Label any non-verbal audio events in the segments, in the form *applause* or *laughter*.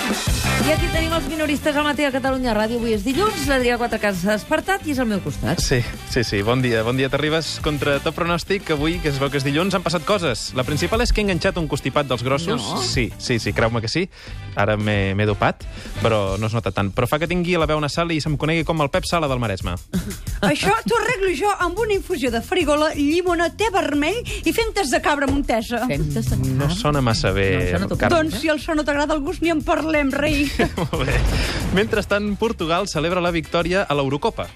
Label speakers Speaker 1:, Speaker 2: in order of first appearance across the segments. Speaker 1: I aquí tenim els minoristes al matí a Catalunya Ràdio. Avui és dilluns, l'Adrià Quatrecan s'ha despertat i és al meu costat.
Speaker 2: Sí, sí, sí. Bon dia. Bon dia. T'arribes contra tot pronòstic. que Avui, que es veu que és dilluns, han passat coses. La principal és que he enganxat un constipat dels grossos.
Speaker 1: No.
Speaker 2: Sí, sí, sí, creu-me que sí. Ara m'he m'he dopat, però no es nota tant. Però fa que tingui la veu una sala i se'm conegui com el Pep Sala del Maresme.
Speaker 3: Això t'ho arreglo jo amb una infusió de farigola, llimona, te vermell i fentes de cabra montesa.
Speaker 1: Fem-te secar.
Speaker 2: No sona massa
Speaker 1: Ah. No em
Speaker 2: bé,
Speaker 1: sona tot
Speaker 2: Carme.
Speaker 3: Doncs si el so no t'agrada el gust, ni en parlem,
Speaker 1: *laughs*
Speaker 3: rei.
Speaker 2: *laughs* Molt bé. Mentrestant, Portugal celebra la victòria a l'Eurocopa.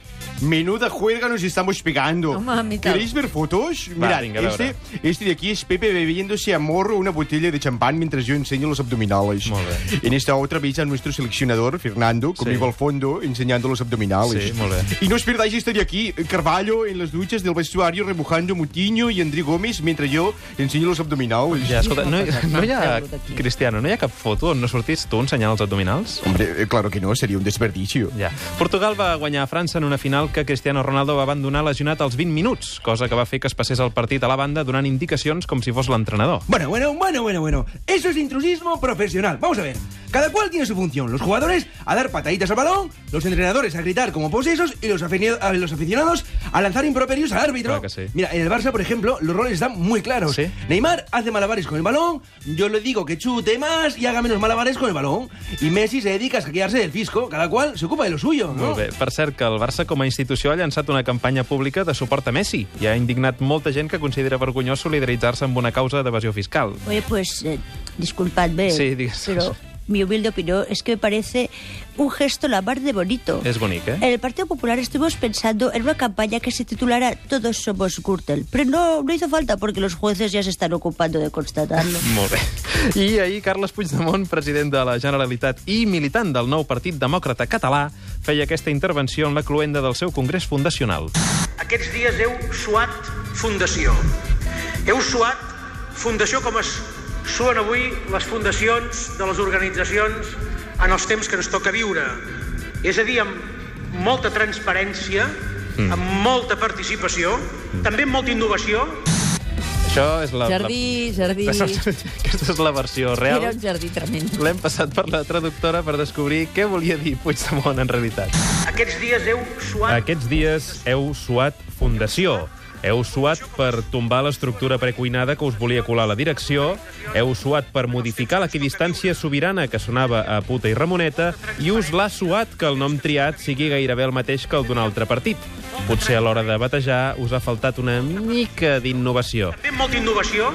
Speaker 4: Menuda juerga nos estamos pegando.
Speaker 1: Home, a mí tal.
Speaker 4: ¿Queréis ver fotos?
Speaker 2: Va,
Speaker 4: Mirad,
Speaker 2: venga, a veure.
Speaker 4: este, este de aquí es Pepe bebiéndose a morro una botella de champán mientras yo enseño los abdominales.
Speaker 2: Molt bé.
Speaker 4: En esta otra veis a nuestro seleccionador, Fernando, conmigo
Speaker 2: Sí.
Speaker 4: al fondo, enseñando los abdominales.
Speaker 2: Sí, molt bé.
Speaker 4: Y no os perdáis este de aquí, Carvalho en las duchas del vestuario remojando Mutiño y André Gómez mientras yo enseño los abdominales.
Speaker 2: Ja, escolta, no, hi- no hi ha...
Speaker 1: Segut aquí.
Speaker 2: Cristiano, no hi ha cap foto on no sortís tu ensenyant els abdominals?
Speaker 4: Hombre, eh, claro que no, sería un desperdicio.
Speaker 2: Ja. Portugal va guanyar a França en una final que Cristiano Ronaldo va abandonar lesionat als 20 minuts, cosa que va fer que es passés el partit a la banda donant indicacions com si fos l'entrenador.
Speaker 5: Bueno, bueno, bueno, bueno, bueno. Eso es intrusismo profesional. Vamos a ver. Cada cual tiene su función. Los jugadores a dar pataditas al balón, los entrenadores a gritar como posesos y los, afini- a los aficionados a lanzar improperios al árbitro.
Speaker 2: Claro que sí.
Speaker 5: Mira, en el Barça, por ejemplo, los roles están muy claros.
Speaker 2: Sí.
Speaker 5: Neymar hace malabares con el balón, yo le digo que chute más y haga menos malabares con el balón. Y Messi se dedica a saquearse del fisco. Cada cual se ocupa de lo suyo. ¿no?
Speaker 2: Molt bé. Per cert, que el Barça com a institució ha llançat una campanya pública de suport a Messi i ha indignat molta gent que considera vergonyós solidaritzar-se amb una causa d'evasió fiscal.
Speaker 6: Oye, pues eh, disculpadme,
Speaker 2: Sí, digas.
Speaker 6: pero mi humilde opinión es que me parece un gesto la mar de bonito.
Speaker 2: És bonic,
Speaker 6: En
Speaker 2: eh?
Speaker 6: el Partido Popular estuvimos pensando en una campaña que se titulara Todos somos Gürtel, pero no, no hizo falta porque los jueces ya se están ocupando de constatarlo.
Speaker 2: Molt bé. I ahir Carles Puigdemont, president de la Generalitat i militant del nou Partit Demòcrata Català, feia aquesta intervenció en la cloenda del seu congrés fundacional.
Speaker 7: Aquests dies heu suat fundació. Heu suat fundació com es suen avui les fundacions de les organitzacions en els temps que ens toca viure. És a dir, amb molta transparència, amb molta participació, també amb molta innovació,
Speaker 2: Això és la...
Speaker 1: Jardí, jardí.
Speaker 2: La... Aquesta és la versió real.
Speaker 1: Era un jardí tremend.
Speaker 2: L'hem passat per la traductora per descobrir què volia dir Puigdemont en realitat.
Speaker 7: aquests dies heu suat...
Speaker 8: Aquests dies heu suat Fundació. Heu suat per tombar l'estructura precuinada que us volia colar la direcció, heu suat per modificar l'equidistància sobirana que sonava a puta i Ramoneta, i us l'ha suat que el nom triat sigui gairebé el mateix que el d'un altre partit. Potser a l'hora de batejar us ha faltat una mica d'innovació.
Speaker 7: També amb molta innovació,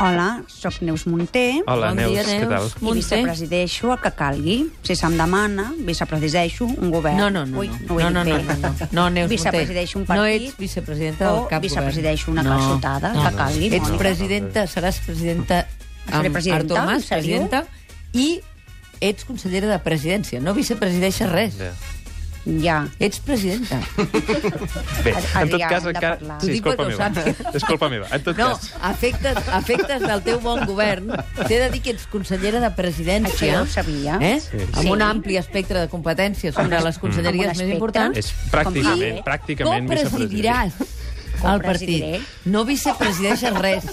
Speaker 9: Hola, sóc Neus Munté
Speaker 2: Hola,
Speaker 1: Bon
Speaker 2: Neus,
Speaker 1: dia,
Speaker 2: què tal?
Speaker 1: Neus.
Speaker 9: i vicepresideixo el que calgui. Si se'm demana, vicepresideixo un govern.
Speaker 1: No, no, no.
Speaker 9: Ui,
Speaker 1: no,
Speaker 9: ho he
Speaker 1: no, no,
Speaker 9: dit
Speaker 1: no,
Speaker 9: bé.
Speaker 1: no, no. no Neus
Speaker 9: Vicepresideixo un
Speaker 1: Munté. No
Speaker 9: partit
Speaker 1: ets vicepresidenta del
Speaker 9: o
Speaker 1: cap
Speaker 9: vicepresideixo una
Speaker 1: govern.
Speaker 9: calçotada, que calgui,
Speaker 1: Ets
Speaker 9: Mònica.
Speaker 1: presidenta, seràs presidenta
Speaker 9: Seré
Speaker 1: amb
Speaker 9: presidenta,
Speaker 1: Artur Mas,
Speaker 9: en sèrio?
Speaker 1: presidenta, i ets consellera de presidència. No vicepresideixes res.
Speaker 2: Ja.
Speaker 9: Ja.
Speaker 1: Ets presidenta.
Speaker 2: Bé,
Speaker 9: Adrià,
Speaker 2: en tot cas...
Speaker 9: hem de
Speaker 2: encara-
Speaker 9: parlar.
Speaker 1: T'ho
Speaker 2: Sí, és
Speaker 1: dic
Speaker 2: culpa
Speaker 1: perquè ho
Speaker 2: meva.
Speaker 1: sàpiga.
Speaker 2: *laughs* És culpa meva. En tot
Speaker 1: No,
Speaker 2: cas...
Speaker 1: efectes, efectes del teu bon govern. T'he de dir que ets consellera de presidència.
Speaker 9: Això ja ho sabia.
Speaker 1: Eh?
Speaker 9: Sí.
Speaker 1: Amb
Speaker 9: Sí.
Speaker 1: un ampli espectre de competències sobre les
Speaker 9: Mm. Amb un
Speaker 1: conselleries més
Speaker 9: espectre.
Speaker 1: importants.
Speaker 2: És
Speaker 1: I
Speaker 2: pràcticament, pràcticament
Speaker 1: copresidiràs el
Speaker 9: Copresidiré.
Speaker 1: partit. No vicepresideixes res.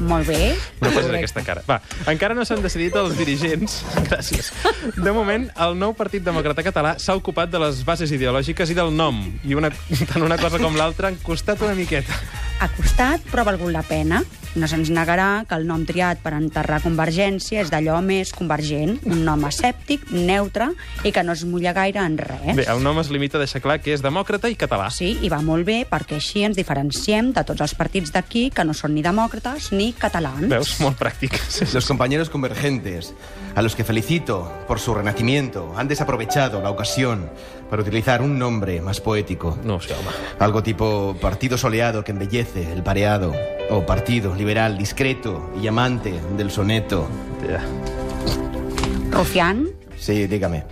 Speaker 9: Molt bé.
Speaker 2: No posis aquesta cara. Va, encara no s'han decidit els dirigents. *laughs* Gràcies. De moment, el nou Partit Demòcrata Català s'ha ocupat de les bases ideològiques i del nom. I una, *laughs* tant una cosa com l'altra han costat una miqueta.
Speaker 9: Ha costat, però ha valgut la pena. No se'ns negarà que el nom triat per enterrar Convergència és d'allò més convergent, un nom asèptic, neutre i que no es mulla gaire en res.
Speaker 2: Bé, el nom es limita a deixar clar que és demòcrata i català.
Speaker 9: Sí, i va molt bé perquè així ens diferenciem de tots els partits d'aquí que no són ni demòcrates ni catalans.
Speaker 2: Veus? Molt pràctic. Sí, sí.
Speaker 5: Los compañeros convergentes, a los que felicito por su renacimiento, han desaprovechado la ocasión para utilizar un nombre más poético.
Speaker 2: No, sí, home.
Speaker 5: Algo tipo partido soleado que embellece el pareado, o partido liberal discreto y amante del soneto.
Speaker 2: Ja.
Speaker 9: Rufián,
Speaker 5: Sí, dígame.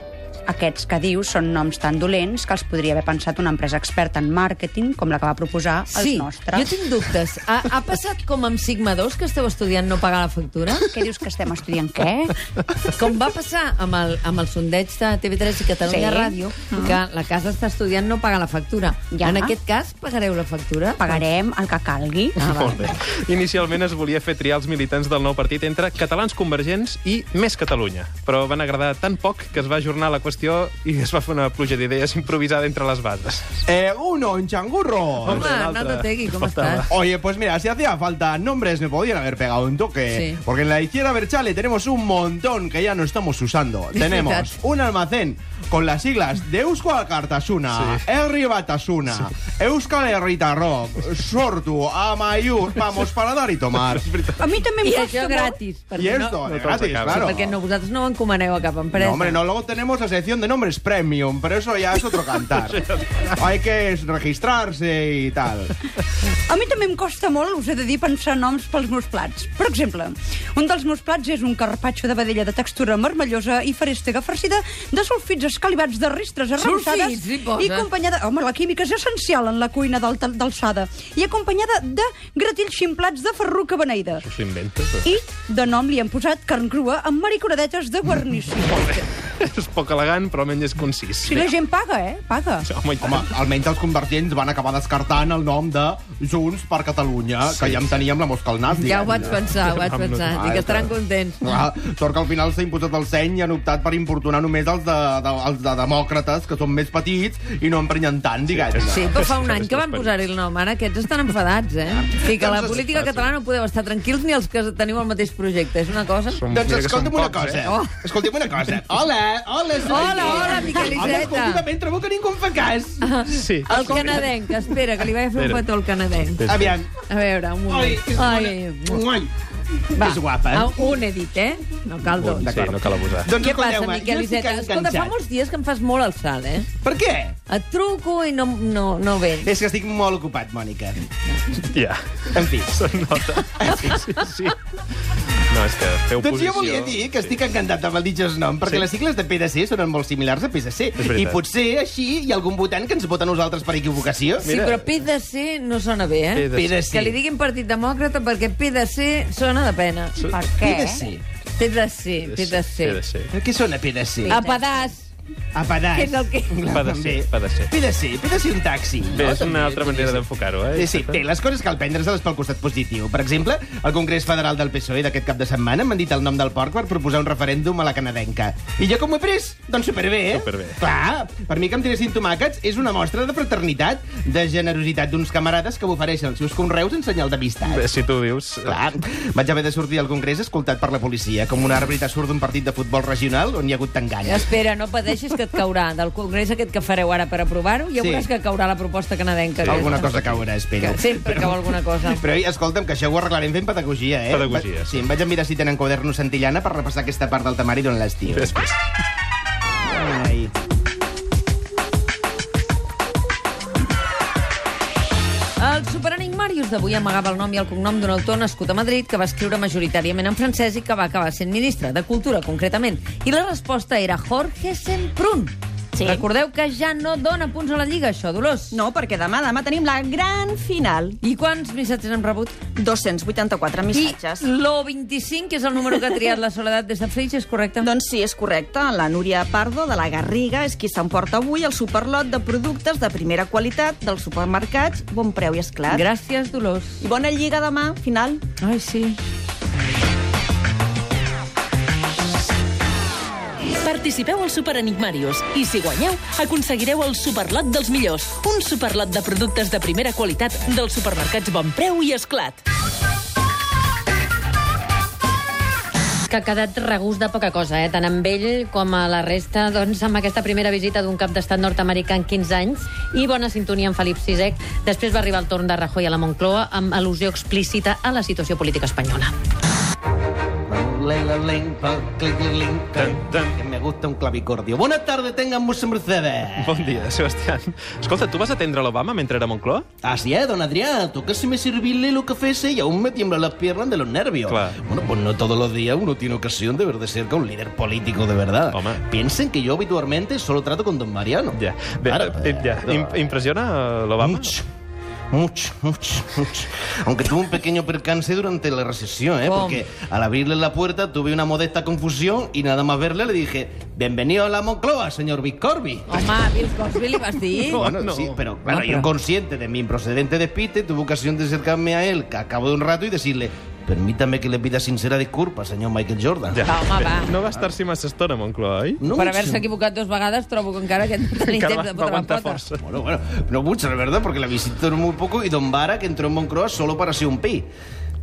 Speaker 9: Aquests que dius són noms tan dolents que els podria haver pensat una empresa experta en màrqueting com la que va proposar
Speaker 1: Sí,
Speaker 9: els nostres.
Speaker 1: jo tinc dubtes. Ha, ha passat com amb Sigma 2, que esteu estudiant no pagar la factura?
Speaker 9: Què dius que estem estudiant què?
Speaker 1: *laughs* Com va passar amb el, amb el sondeig de TV3 i Catalunya
Speaker 9: Sí. Mm.
Speaker 1: Ràdio, que la casa està estudiant no pagar la factura.
Speaker 9: Ja.
Speaker 1: En aquest cas, pagareu la factura?
Speaker 9: Pagarem el que calgui. Ah,
Speaker 2: Molt bé. Inicialment es volia fer triar els militants del nou partit entre catalans convergents i Més Catalunya, però van agradar tan poc que es va ajornar la qüestió i es va fer una pluja d'idees improvisada entre les bases.
Speaker 4: Eguno, Eh, en changurro.
Speaker 1: Home, Arnaldo Tegui, com estàs?
Speaker 4: Oye, pues mira, si hacía falta nombres me podían haber pegado un toque.
Speaker 1: Sí.
Speaker 4: Porque en la izquierda Berchale tenemos un montón que ya no
Speaker 1: *laughs*
Speaker 4: estamos usando.
Speaker 1: verdad.
Speaker 4: Tenemos un almacén con las siglas de Eusko Alcartasuna, Herri Batasuna, Euskal Herrita Rock, Sortu, Amayur, vamos para dar y tomar.
Speaker 3: A mi també em
Speaker 1: I
Speaker 3: costa
Speaker 1: això
Speaker 3: molt.
Speaker 1: gratis.
Speaker 4: y
Speaker 1: perquè
Speaker 4: esto,
Speaker 2: no
Speaker 4: es
Speaker 2: te
Speaker 4: gratis,
Speaker 2: acabas.
Speaker 4: claro.
Speaker 1: Perquè no, vosaltres no ho encomaneu a cap empresa.
Speaker 4: No, hombre, no. Luego tenemos la sección de nombres premium, pero eso ya es otro cantar. Hay que registrarse y tal.
Speaker 3: A mi també em costa molt, us he de dir, pensar noms pels meus plats. Per exemple, un dels meus plats és un carpaccio de vedella de textura marmellosa i farèstega farcida de sulfits escalivats de ristres arrebossades
Speaker 1: Sulfits, hi posa.
Speaker 3: i acompanyada... Home, la química és essencial en la cuina d'alta- d'alçada. I acompanyada de gratills ximplats de ferruca beneïda.
Speaker 8: S'ho inventa. però.
Speaker 3: I de nom li han posat carn crua amb mariconadetes de guarnició.
Speaker 2: *laughs* És poc elegant, però almenys és concís.
Speaker 3: Si la gent paga, eh? Paga.
Speaker 2: Home, i tant.
Speaker 4: Home, almenys els convergents van acabar descartant el nom de Junts per Catalunya, sí. que ja en teníem la mosca al nas.
Speaker 1: Ja
Speaker 4: diguem-ne.
Speaker 1: ho vaig pensar, ho vaig pensar.
Speaker 4: Ah,
Speaker 1: Dic,
Speaker 4: ja
Speaker 1: estaran
Speaker 4: està.
Speaker 1: contents.
Speaker 4: Clar, sort que al final s'ha imposat el seny i han optat per importunar només els de, de, els de demòcrates, que són més petits i no emprenyen tant, diguem-ne.
Speaker 1: Sí, però fa un any que van posar-hi el nom. Ara aquests estan enfadats, eh? Sí, que a la
Speaker 4: Doncs es-
Speaker 1: política catalana no podeu estar tranquils ni els que teniu el mateix projecte. És una cosa...
Speaker 2: Som-
Speaker 4: Doncs
Speaker 2: mira que
Speaker 4: escolta'm
Speaker 2: són
Speaker 4: una
Speaker 2: pocs,
Speaker 4: cosa.
Speaker 2: eh?
Speaker 4: Oh. Escolta'm una
Speaker 1: *laughs*
Speaker 4: cosa. Hola, hola, soy
Speaker 1: Hola,
Speaker 4: jo.
Speaker 1: hola, Miquel
Speaker 4: Home,
Speaker 1: Iceta.
Speaker 4: últimament trobo que ningú em fa cas.
Speaker 2: eh? Sí.
Speaker 1: El canadenc, espera, que li vaig a fer un
Speaker 2: Espera.
Speaker 1: petó al canadenc.
Speaker 4: Ah, Aviam.
Speaker 1: A veure, un
Speaker 4: Ai,
Speaker 1: moment.
Speaker 4: és
Speaker 1: Ai,
Speaker 4: bona.
Speaker 1: va.
Speaker 4: És guapa, eh?
Speaker 1: Ah, Un he dit, eh? No cal dos.
Speaker 2: Sí, no cal abusar.
Speaker 4: Doncs
Speaker 1: Què passa,
Speaker 4: escolteu-me,
Speaker 1: Miquel
Speaker 4: jo estic
Speaker 1: Iceta? Escolta, fa
Speaker 4: enganxat.
Speaker 1: molts dies que em fas molt el salt, eh?
Speaker 4: Per què?
Speaker 1: Et truco i no, no, no vens.
Speaker 4: És que estic molt ocupat, Mònica.
Speaker 2: Ja. *laughs*
Speaker 4: En fi.
Speaker 2: Se'n nota. Sí, sí, sí. No, és que feu
Speaker 4: Doncs
Speaker 2: posició...
Speaker 4: jo volia dir que estic encantat amb el Ditges Nom, perquè
Speaker 2: Sí.
Speaker 4: sí. les sigles de PDC sonen molt similars a PSC.
Speaker 2: veritat.
Speaker 4: I potser així hi ha algun votant que ens vota a nosaltres per equivocació.
Speaker 1: Sí, però PDC no sona bé, eh?
Speaker 2: PDC.
Speaker 1: Que li diguin Partit Demòcrata perquè PDC sona de pena.
Speaker 9: Per què?
Speaker 4: PDC.
Speaker 1: PDC, PDC.
Speaker 2: PDC.
Speaker 4: Què sona PDC?
Speaker 1: A pedaç.
Speaker 4: A pedaç.
Speaker 1: Què és el Ah, que-
Speaker 4: Clar,
Speaker 2: PDC,
Speaker 4: també.
Speaker 2: PDC.
Speaker 4: PDC, PDC un taxi.
Speaker 2: Bé, és una altra manera d'enfocar-ho, eh?
Speaker 4: Eh, Sí, bé, les coses cal prendre-se-les pel costat positiu. Per exemple, al Congrés Federal del PSOE E d'aquest cap de setmana m'han dit el nom del porc per proposar un referèndum a la canadenca. I jo com ho he pres? Doncs superbé, eh?
Speaker 2: Superbé.
Speaker 4: Clar, per mi que em tiressin tomàquets és una mostra de fraternitat, de generositat d'uns camarades que m'ofereixen els seus conreus en senyal d'amistat.
Speaker 2: Bé, si tu ho dius...
Speaker 4: Clar, vaig haver de sortir al Congrés escoltat per la policia, com un àrbitre surt d'un partit de futbol regional on hi ha hagut tanganya.
Speaker 1: Espera, no pateixis que et caurà. Del congrés aquest que fareu ara per aprovar-ho, ja
Speaker 4: Sí.
Speaker 1: veuràs que caurà la proposta canadenca. aquesta.
Speaker 4: Alguna cosa caurà, espero.
Speaker 1: Que sempre cau alguna cosa.
Speaker 4: Però ei, escolta'm, que això ho arreglarem fent pedagogia, eh?
Speaker 2: Pedagogia,
Speaker 4: Va- Sí, em vaig a mirar si tenen quaderno centillana per repassar aquesta part del temari durant l'estiu.
Speaker 2: Després.
Speaker 4: Ai.
Speaker 1: El superenigmàrius d'avui amagava el nom i el cognom d'un autor nascut a Madrid que va escriure majoritàriament en francès i que va acabar sent ministre de Cultura, concretament. I la resposta era Jorge Semprún. Sí. Recordeu que ja no dona punts a la Lliga, això, Dolors.
Speaker 10: No, perquè demà, demà tenim la gran final.
Speaker 1: I quants missatges hem rebut?
Speaker 10: 284 missatges.
Speaker 1: I l'O25, que és el número que ha triat la Soledat des de Flix, és correcte?
Speaker 10: Doncs sí, és correcte. La Núria Pardo, de la Garriga, és qui s'emporta avui el superlot de productes de primera qualitat dels supermercats, bon preu i esclat.
Speaker 1: Gràcies, Dolors.
Speaker 10: I bona lliga demà, final.
Speaker 1: Ai, sí.
Speaker 11: Participeu al Superenigmàrius i, si guanyeu, aconseguireu el superlot dels millors. Un superlot de productes de primera qualitat dels supermercats Bon Preu i Esclat.
Speaker 12: que ha quedat regust de poca cosa, eh? tant amb ell com a la resta, doncs, amb aquesta primera visita d'un cap d'estat nord-americà en 15 anys i bona sintonia amb Felip VI. Després va arribar el torn de Rajoy a la Moncloa amb al·lusió explícita a la situació política espanyola.
Speaker 4: clic-clic-clic, clic-clic-clic, que me gusta un clavicordio. Bona tarda, tengan mucha merced.
Speaker 2: Bon dia, Sebastián. Escolta, tu vas atendre l'Obama mentre era a Moncloa?
Speaker 4: Así es, don Adrián. Tú casi me servíle lo que fuese y aún me tiemblan las piernas de los nervios.
Speaker 2: Claro.
Speaker 4: Bueno, pues no todos los días uno tiene ocasión de ver de cerca un líder político de verdad. Piensen que yo habitualmente solo trato con don Mariano.
Speaker 2: Ya, Bé, eh, ja. Im impressiona eh, l'Obama?
Speaker 4: Mucho, mucho, mucho. Aunque tuve un pequeño percance durante la recesión, ¿eh?
Speaker 2: ¿Cómo?
Speaker 4: Porque al abrirle la puerta tuve una modesta confusión y nada más verle le dije, bienvenido a la Moncloa, señor Biscorbi.
Speaker 1: Home, Bill Cosby li vas
Speaker 4: *laughs*
Speaker 1: dir...
Speaker 4: Bueno, sí, pero claro, yo consciente de mi improcedente despiste, tuve ocasión de acercarme a él a cabo de un rato y decirle, permítame que le pida sincera disculpa, señor Michael Jordan.
Speaker 1: Va, home, va.
Speaker 2: No va estar-s'hi massa estona, a Moncloa, oi?
Speaker 4: No,
Speaker 1: per haver-se equivocat dues vegades trobo que encara que no tenim
Speaker 4: Encara
Speaker 1: temps de tota.
Speaker 4: va- va
Speaker 1: fotre la
Speaker 4: aguantar
Speaker 1: pota.
Speaker 4: força. Bueno, bueno, no mucho, la verdad, porque la visité muy poco y Don Vara, que entró en Moncloa solo para ser un pi.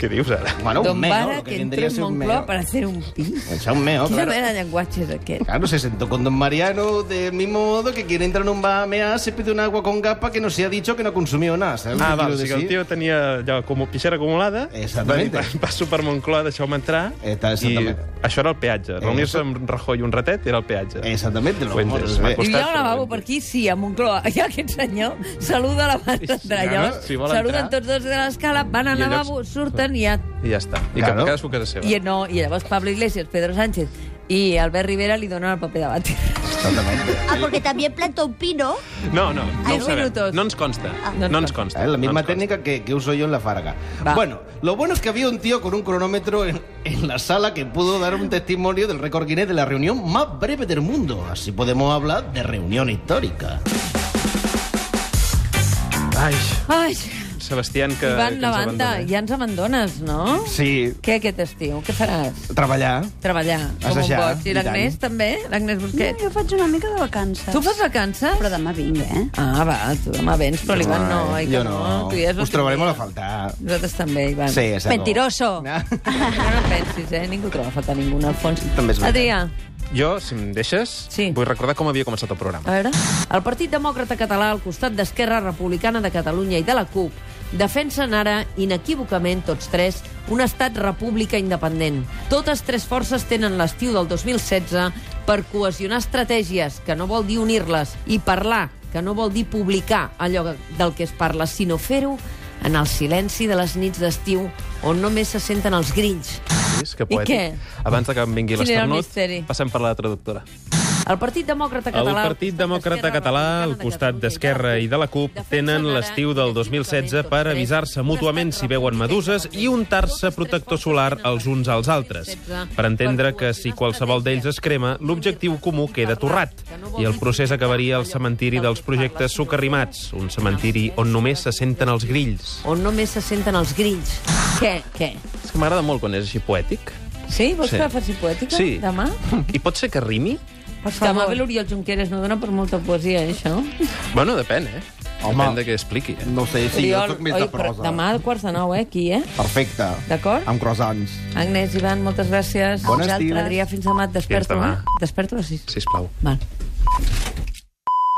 Speaker 2: ¿Qué dius ara?
Speaker 4: Bueno,
Speaker 1: Don
Speaker 4: un meo,
Speaker 1: Vara,
Speaker 4: lo que
Speaker 1: que entró
Speaker 4: vendría a
Speaker 1: en
Speaker 4: ser un
Speaker 1: Moncloa
Speaker 4: meo.
Speaker 1: para hacer un pis.
Speaker 4: O sea, un meo,
Speaker 1: Quina
Speaker 4: claro.
Speaker 1: mena de llenguatge és aquest?
Speaker 4: Claro, se sentó con don Mariano del mismo modo que quien entra en un bar a mear se pide un agua con gapa que no se ha dicho que no ha consumido nada. ¿sabes lo
Speaker 2: Ah,
Speaker 4: que
Speaker 2: val,
Speaker 4: quiero
Speaker 2: o sigui, el
Speaker 4: decir?
Speaker 2: tio tenia allò, com pixera acumulada.
Speaker 4: Exactamente.
Speaker 2: Va, dir, passo per Moncloa, deixeu-me entrar. I
Speaker 4: Eta, Eh, exactament.
Speaker 2: això era el peatge. Reunir-se amb Rajoy un ratet era el peatge.
Speaker 4: Exactament.
Speaker 2: Ho he entès.
Speaker 1: I
Speaker 2: M'ha
Speaker 1: hi ha
Speaker 2: costat, eh,
Speaker 1: un
Speaker 2: però-
Speaker 1: lavabo per aquí? Sí, a Moncloa. Hi ha aquest senyor, saluda l'abans d'entrar
Speaker 2: no,
Speaker 1: allò,
Speaker 2: si vol
Speaker 1: saluden
Speaker 2: entrar.
Speaker 1: tots dos de l'escala, van al
Speaker 2: I allò-
Speaker 1: lavabo, surten i ja...
Speaker 2: I ja està. I claro.
Speaker 4: Claro.
Speaker 2: cadascú a casa seva.
Speaker 1: I, no, I llavors Pablo Iglesias, Pedro Sánchez i Albert Rivera li donen el paper de bàtir.
Speaker 6: Ah, porque también plantó un pino.
Speaker 2: No, no, no
Speaker 1: Ai,
Speaker 2: ho sabem.
Speaker 1: minutos.
Speaker 2: No ens consta.
Speaker 6: Ah.
Speaker 2: no ens consta.
Speaker 4: Eh, La misma
Speaker 2: no ens consta.
Speaker 4: técnica que, que uso yo en la farga.
Speaker 1: Va.
Speaker 4: Bueno, lo bueno es que había un tío con un cronómetro en, en la sala que pudo dar un testimonio del récord Guinness de la reunión más breve del mundo. Así podemos hablar de reunión histórica.
Speaker 2: Ai,
Speaker 1: Ai,
Speaker 2: Sebastián, que,
Speaker 1: Ivan,
Speaker 2: Eh, que
Speaker 1: la
Speaker 2: ens
Speaker 1: banda,
Speaker 2: abandona.
Speaker 1: ja ens abandones, no?
Speaker 4: Sí,
Speaker 1: Què aquest estiu? Què faràs?
Speaker 4: treballar.
Speaker 1: Treballar, com un
Speaker 4: Assajar,
Speaker 1: boig. I
Speaker 4: i
Speaker 1: l'Agnès
Speaker 4: tant.
Speaker 1: també? L'Agnès Busquets?
Speaker 9: Jo faig una mica de vacances.
Speaker 1: Tu fas vacances?
Speaker 9: Però demà vinc, eh?
Speaker 1: Ah, va, tu demà vens, però l'Ivan no, oi que
Speaker 4: yo
Speaker 1: no?
Speaker 4: eh? no.
Speaker 1: Tu ja és
Speaker 4: Os trobaremos a faltar.
Speaker 1: Nosaltres també, Ivan.
Speaker 4: Sí, exacte.
Speaker 1: Mentiroso. No. *laughs* no et pensis, eh? Ningú troba a faltar ningú, en el fons.
Speaker 4: També és veritat.
Speaker 1: Adrià,
Speaker 2: Jo, si em deixes,
Speaker 1: Sí.
Speaker 2: vull recordar com havia començat el programa.
Speaker 1: a veure. El Partit Demòcrata Català, al costat d'Esquerra Republicana de Catalunya i de la CUP, defensen ara, inequívocament, tots tres, un estat república independent. Totes tres forces tenen l'estiu del 2016 per cohesionar estratègies, que no vol dir unir-les, i parlar, que no vol dir publicar allò que- del que es parla, sinó fer-ho en el silenci de les nits d'estiu, on només se senten els grills.
Speaker 2: És que
Speaker 1: Ah. I
Speaker 2: poètic.
Speaker 1: què?
Speaker 2: Abans de que em vingui
Speaker 1: Quin era el misteri?
Speaker 2: l'esternut, passem per la traductora.
Speaker 1: El Partit Demòcrata
Speaker 8: El
Speaker 1: Català...
Speaker 8: Partit Demòcrata Català, al costat d'Esquerra i de la CUP, tenen l'estiu del 2016 per avisar-se mútuament si veuen meduses i untar-se protector solar els uns als altres, per entendre que si qualsevol d'ells es crema, l'objectiu comú queda torrat, i el procés acabaria al cementiri dels projectes socarrimats, un cementiri on només se senten els grills.
Speaker 1: On només se senten els grills. Què? Què?
Speaker 2: És que m'agrada molt quan és així poètic.
Speaker 1: Sí? Vols
Speaker 2: Sí.
Speaker 1: que la faci poètica?
Speaker 2: Sí.
Speaker 1: Demà?
Speaker 2: I pot ser que rimi?
Speaker 1: Per favor. Demà ve l'Oriol Junqueras, no dona per molta poesia, eh, això?
Speaker 2: Bueno, depèn, eh?
Speaker 4: Home.
Speaker 2: Depèn de què expliqui. Eh?
Speaker 4: No ho sé, sí, jo
Speaker 1: Oriol,
Speaker 4: sóc més
Speaker 1: oi,
Speaker 4: de
Speaker 1: però
Speaker 4: prosa.
Speaker 1: Demà a quarts de nou, eh, aquí, eh?
Speaker 4: Perfecte.
Speaker 1: D'acord?
Speaker 4: Amb croissants.
Speaker 1: Agnès, Ivan, moltes gràcies.
Speaker 4: Bon estiu.
Speaker 1: Adrià, fins demà. Et Desperto,
Speaker 2: demà.
Speaker 1: eh? Et Desperto a les sis.
Speaker 2: Sisplau.
Speaker 1: Val.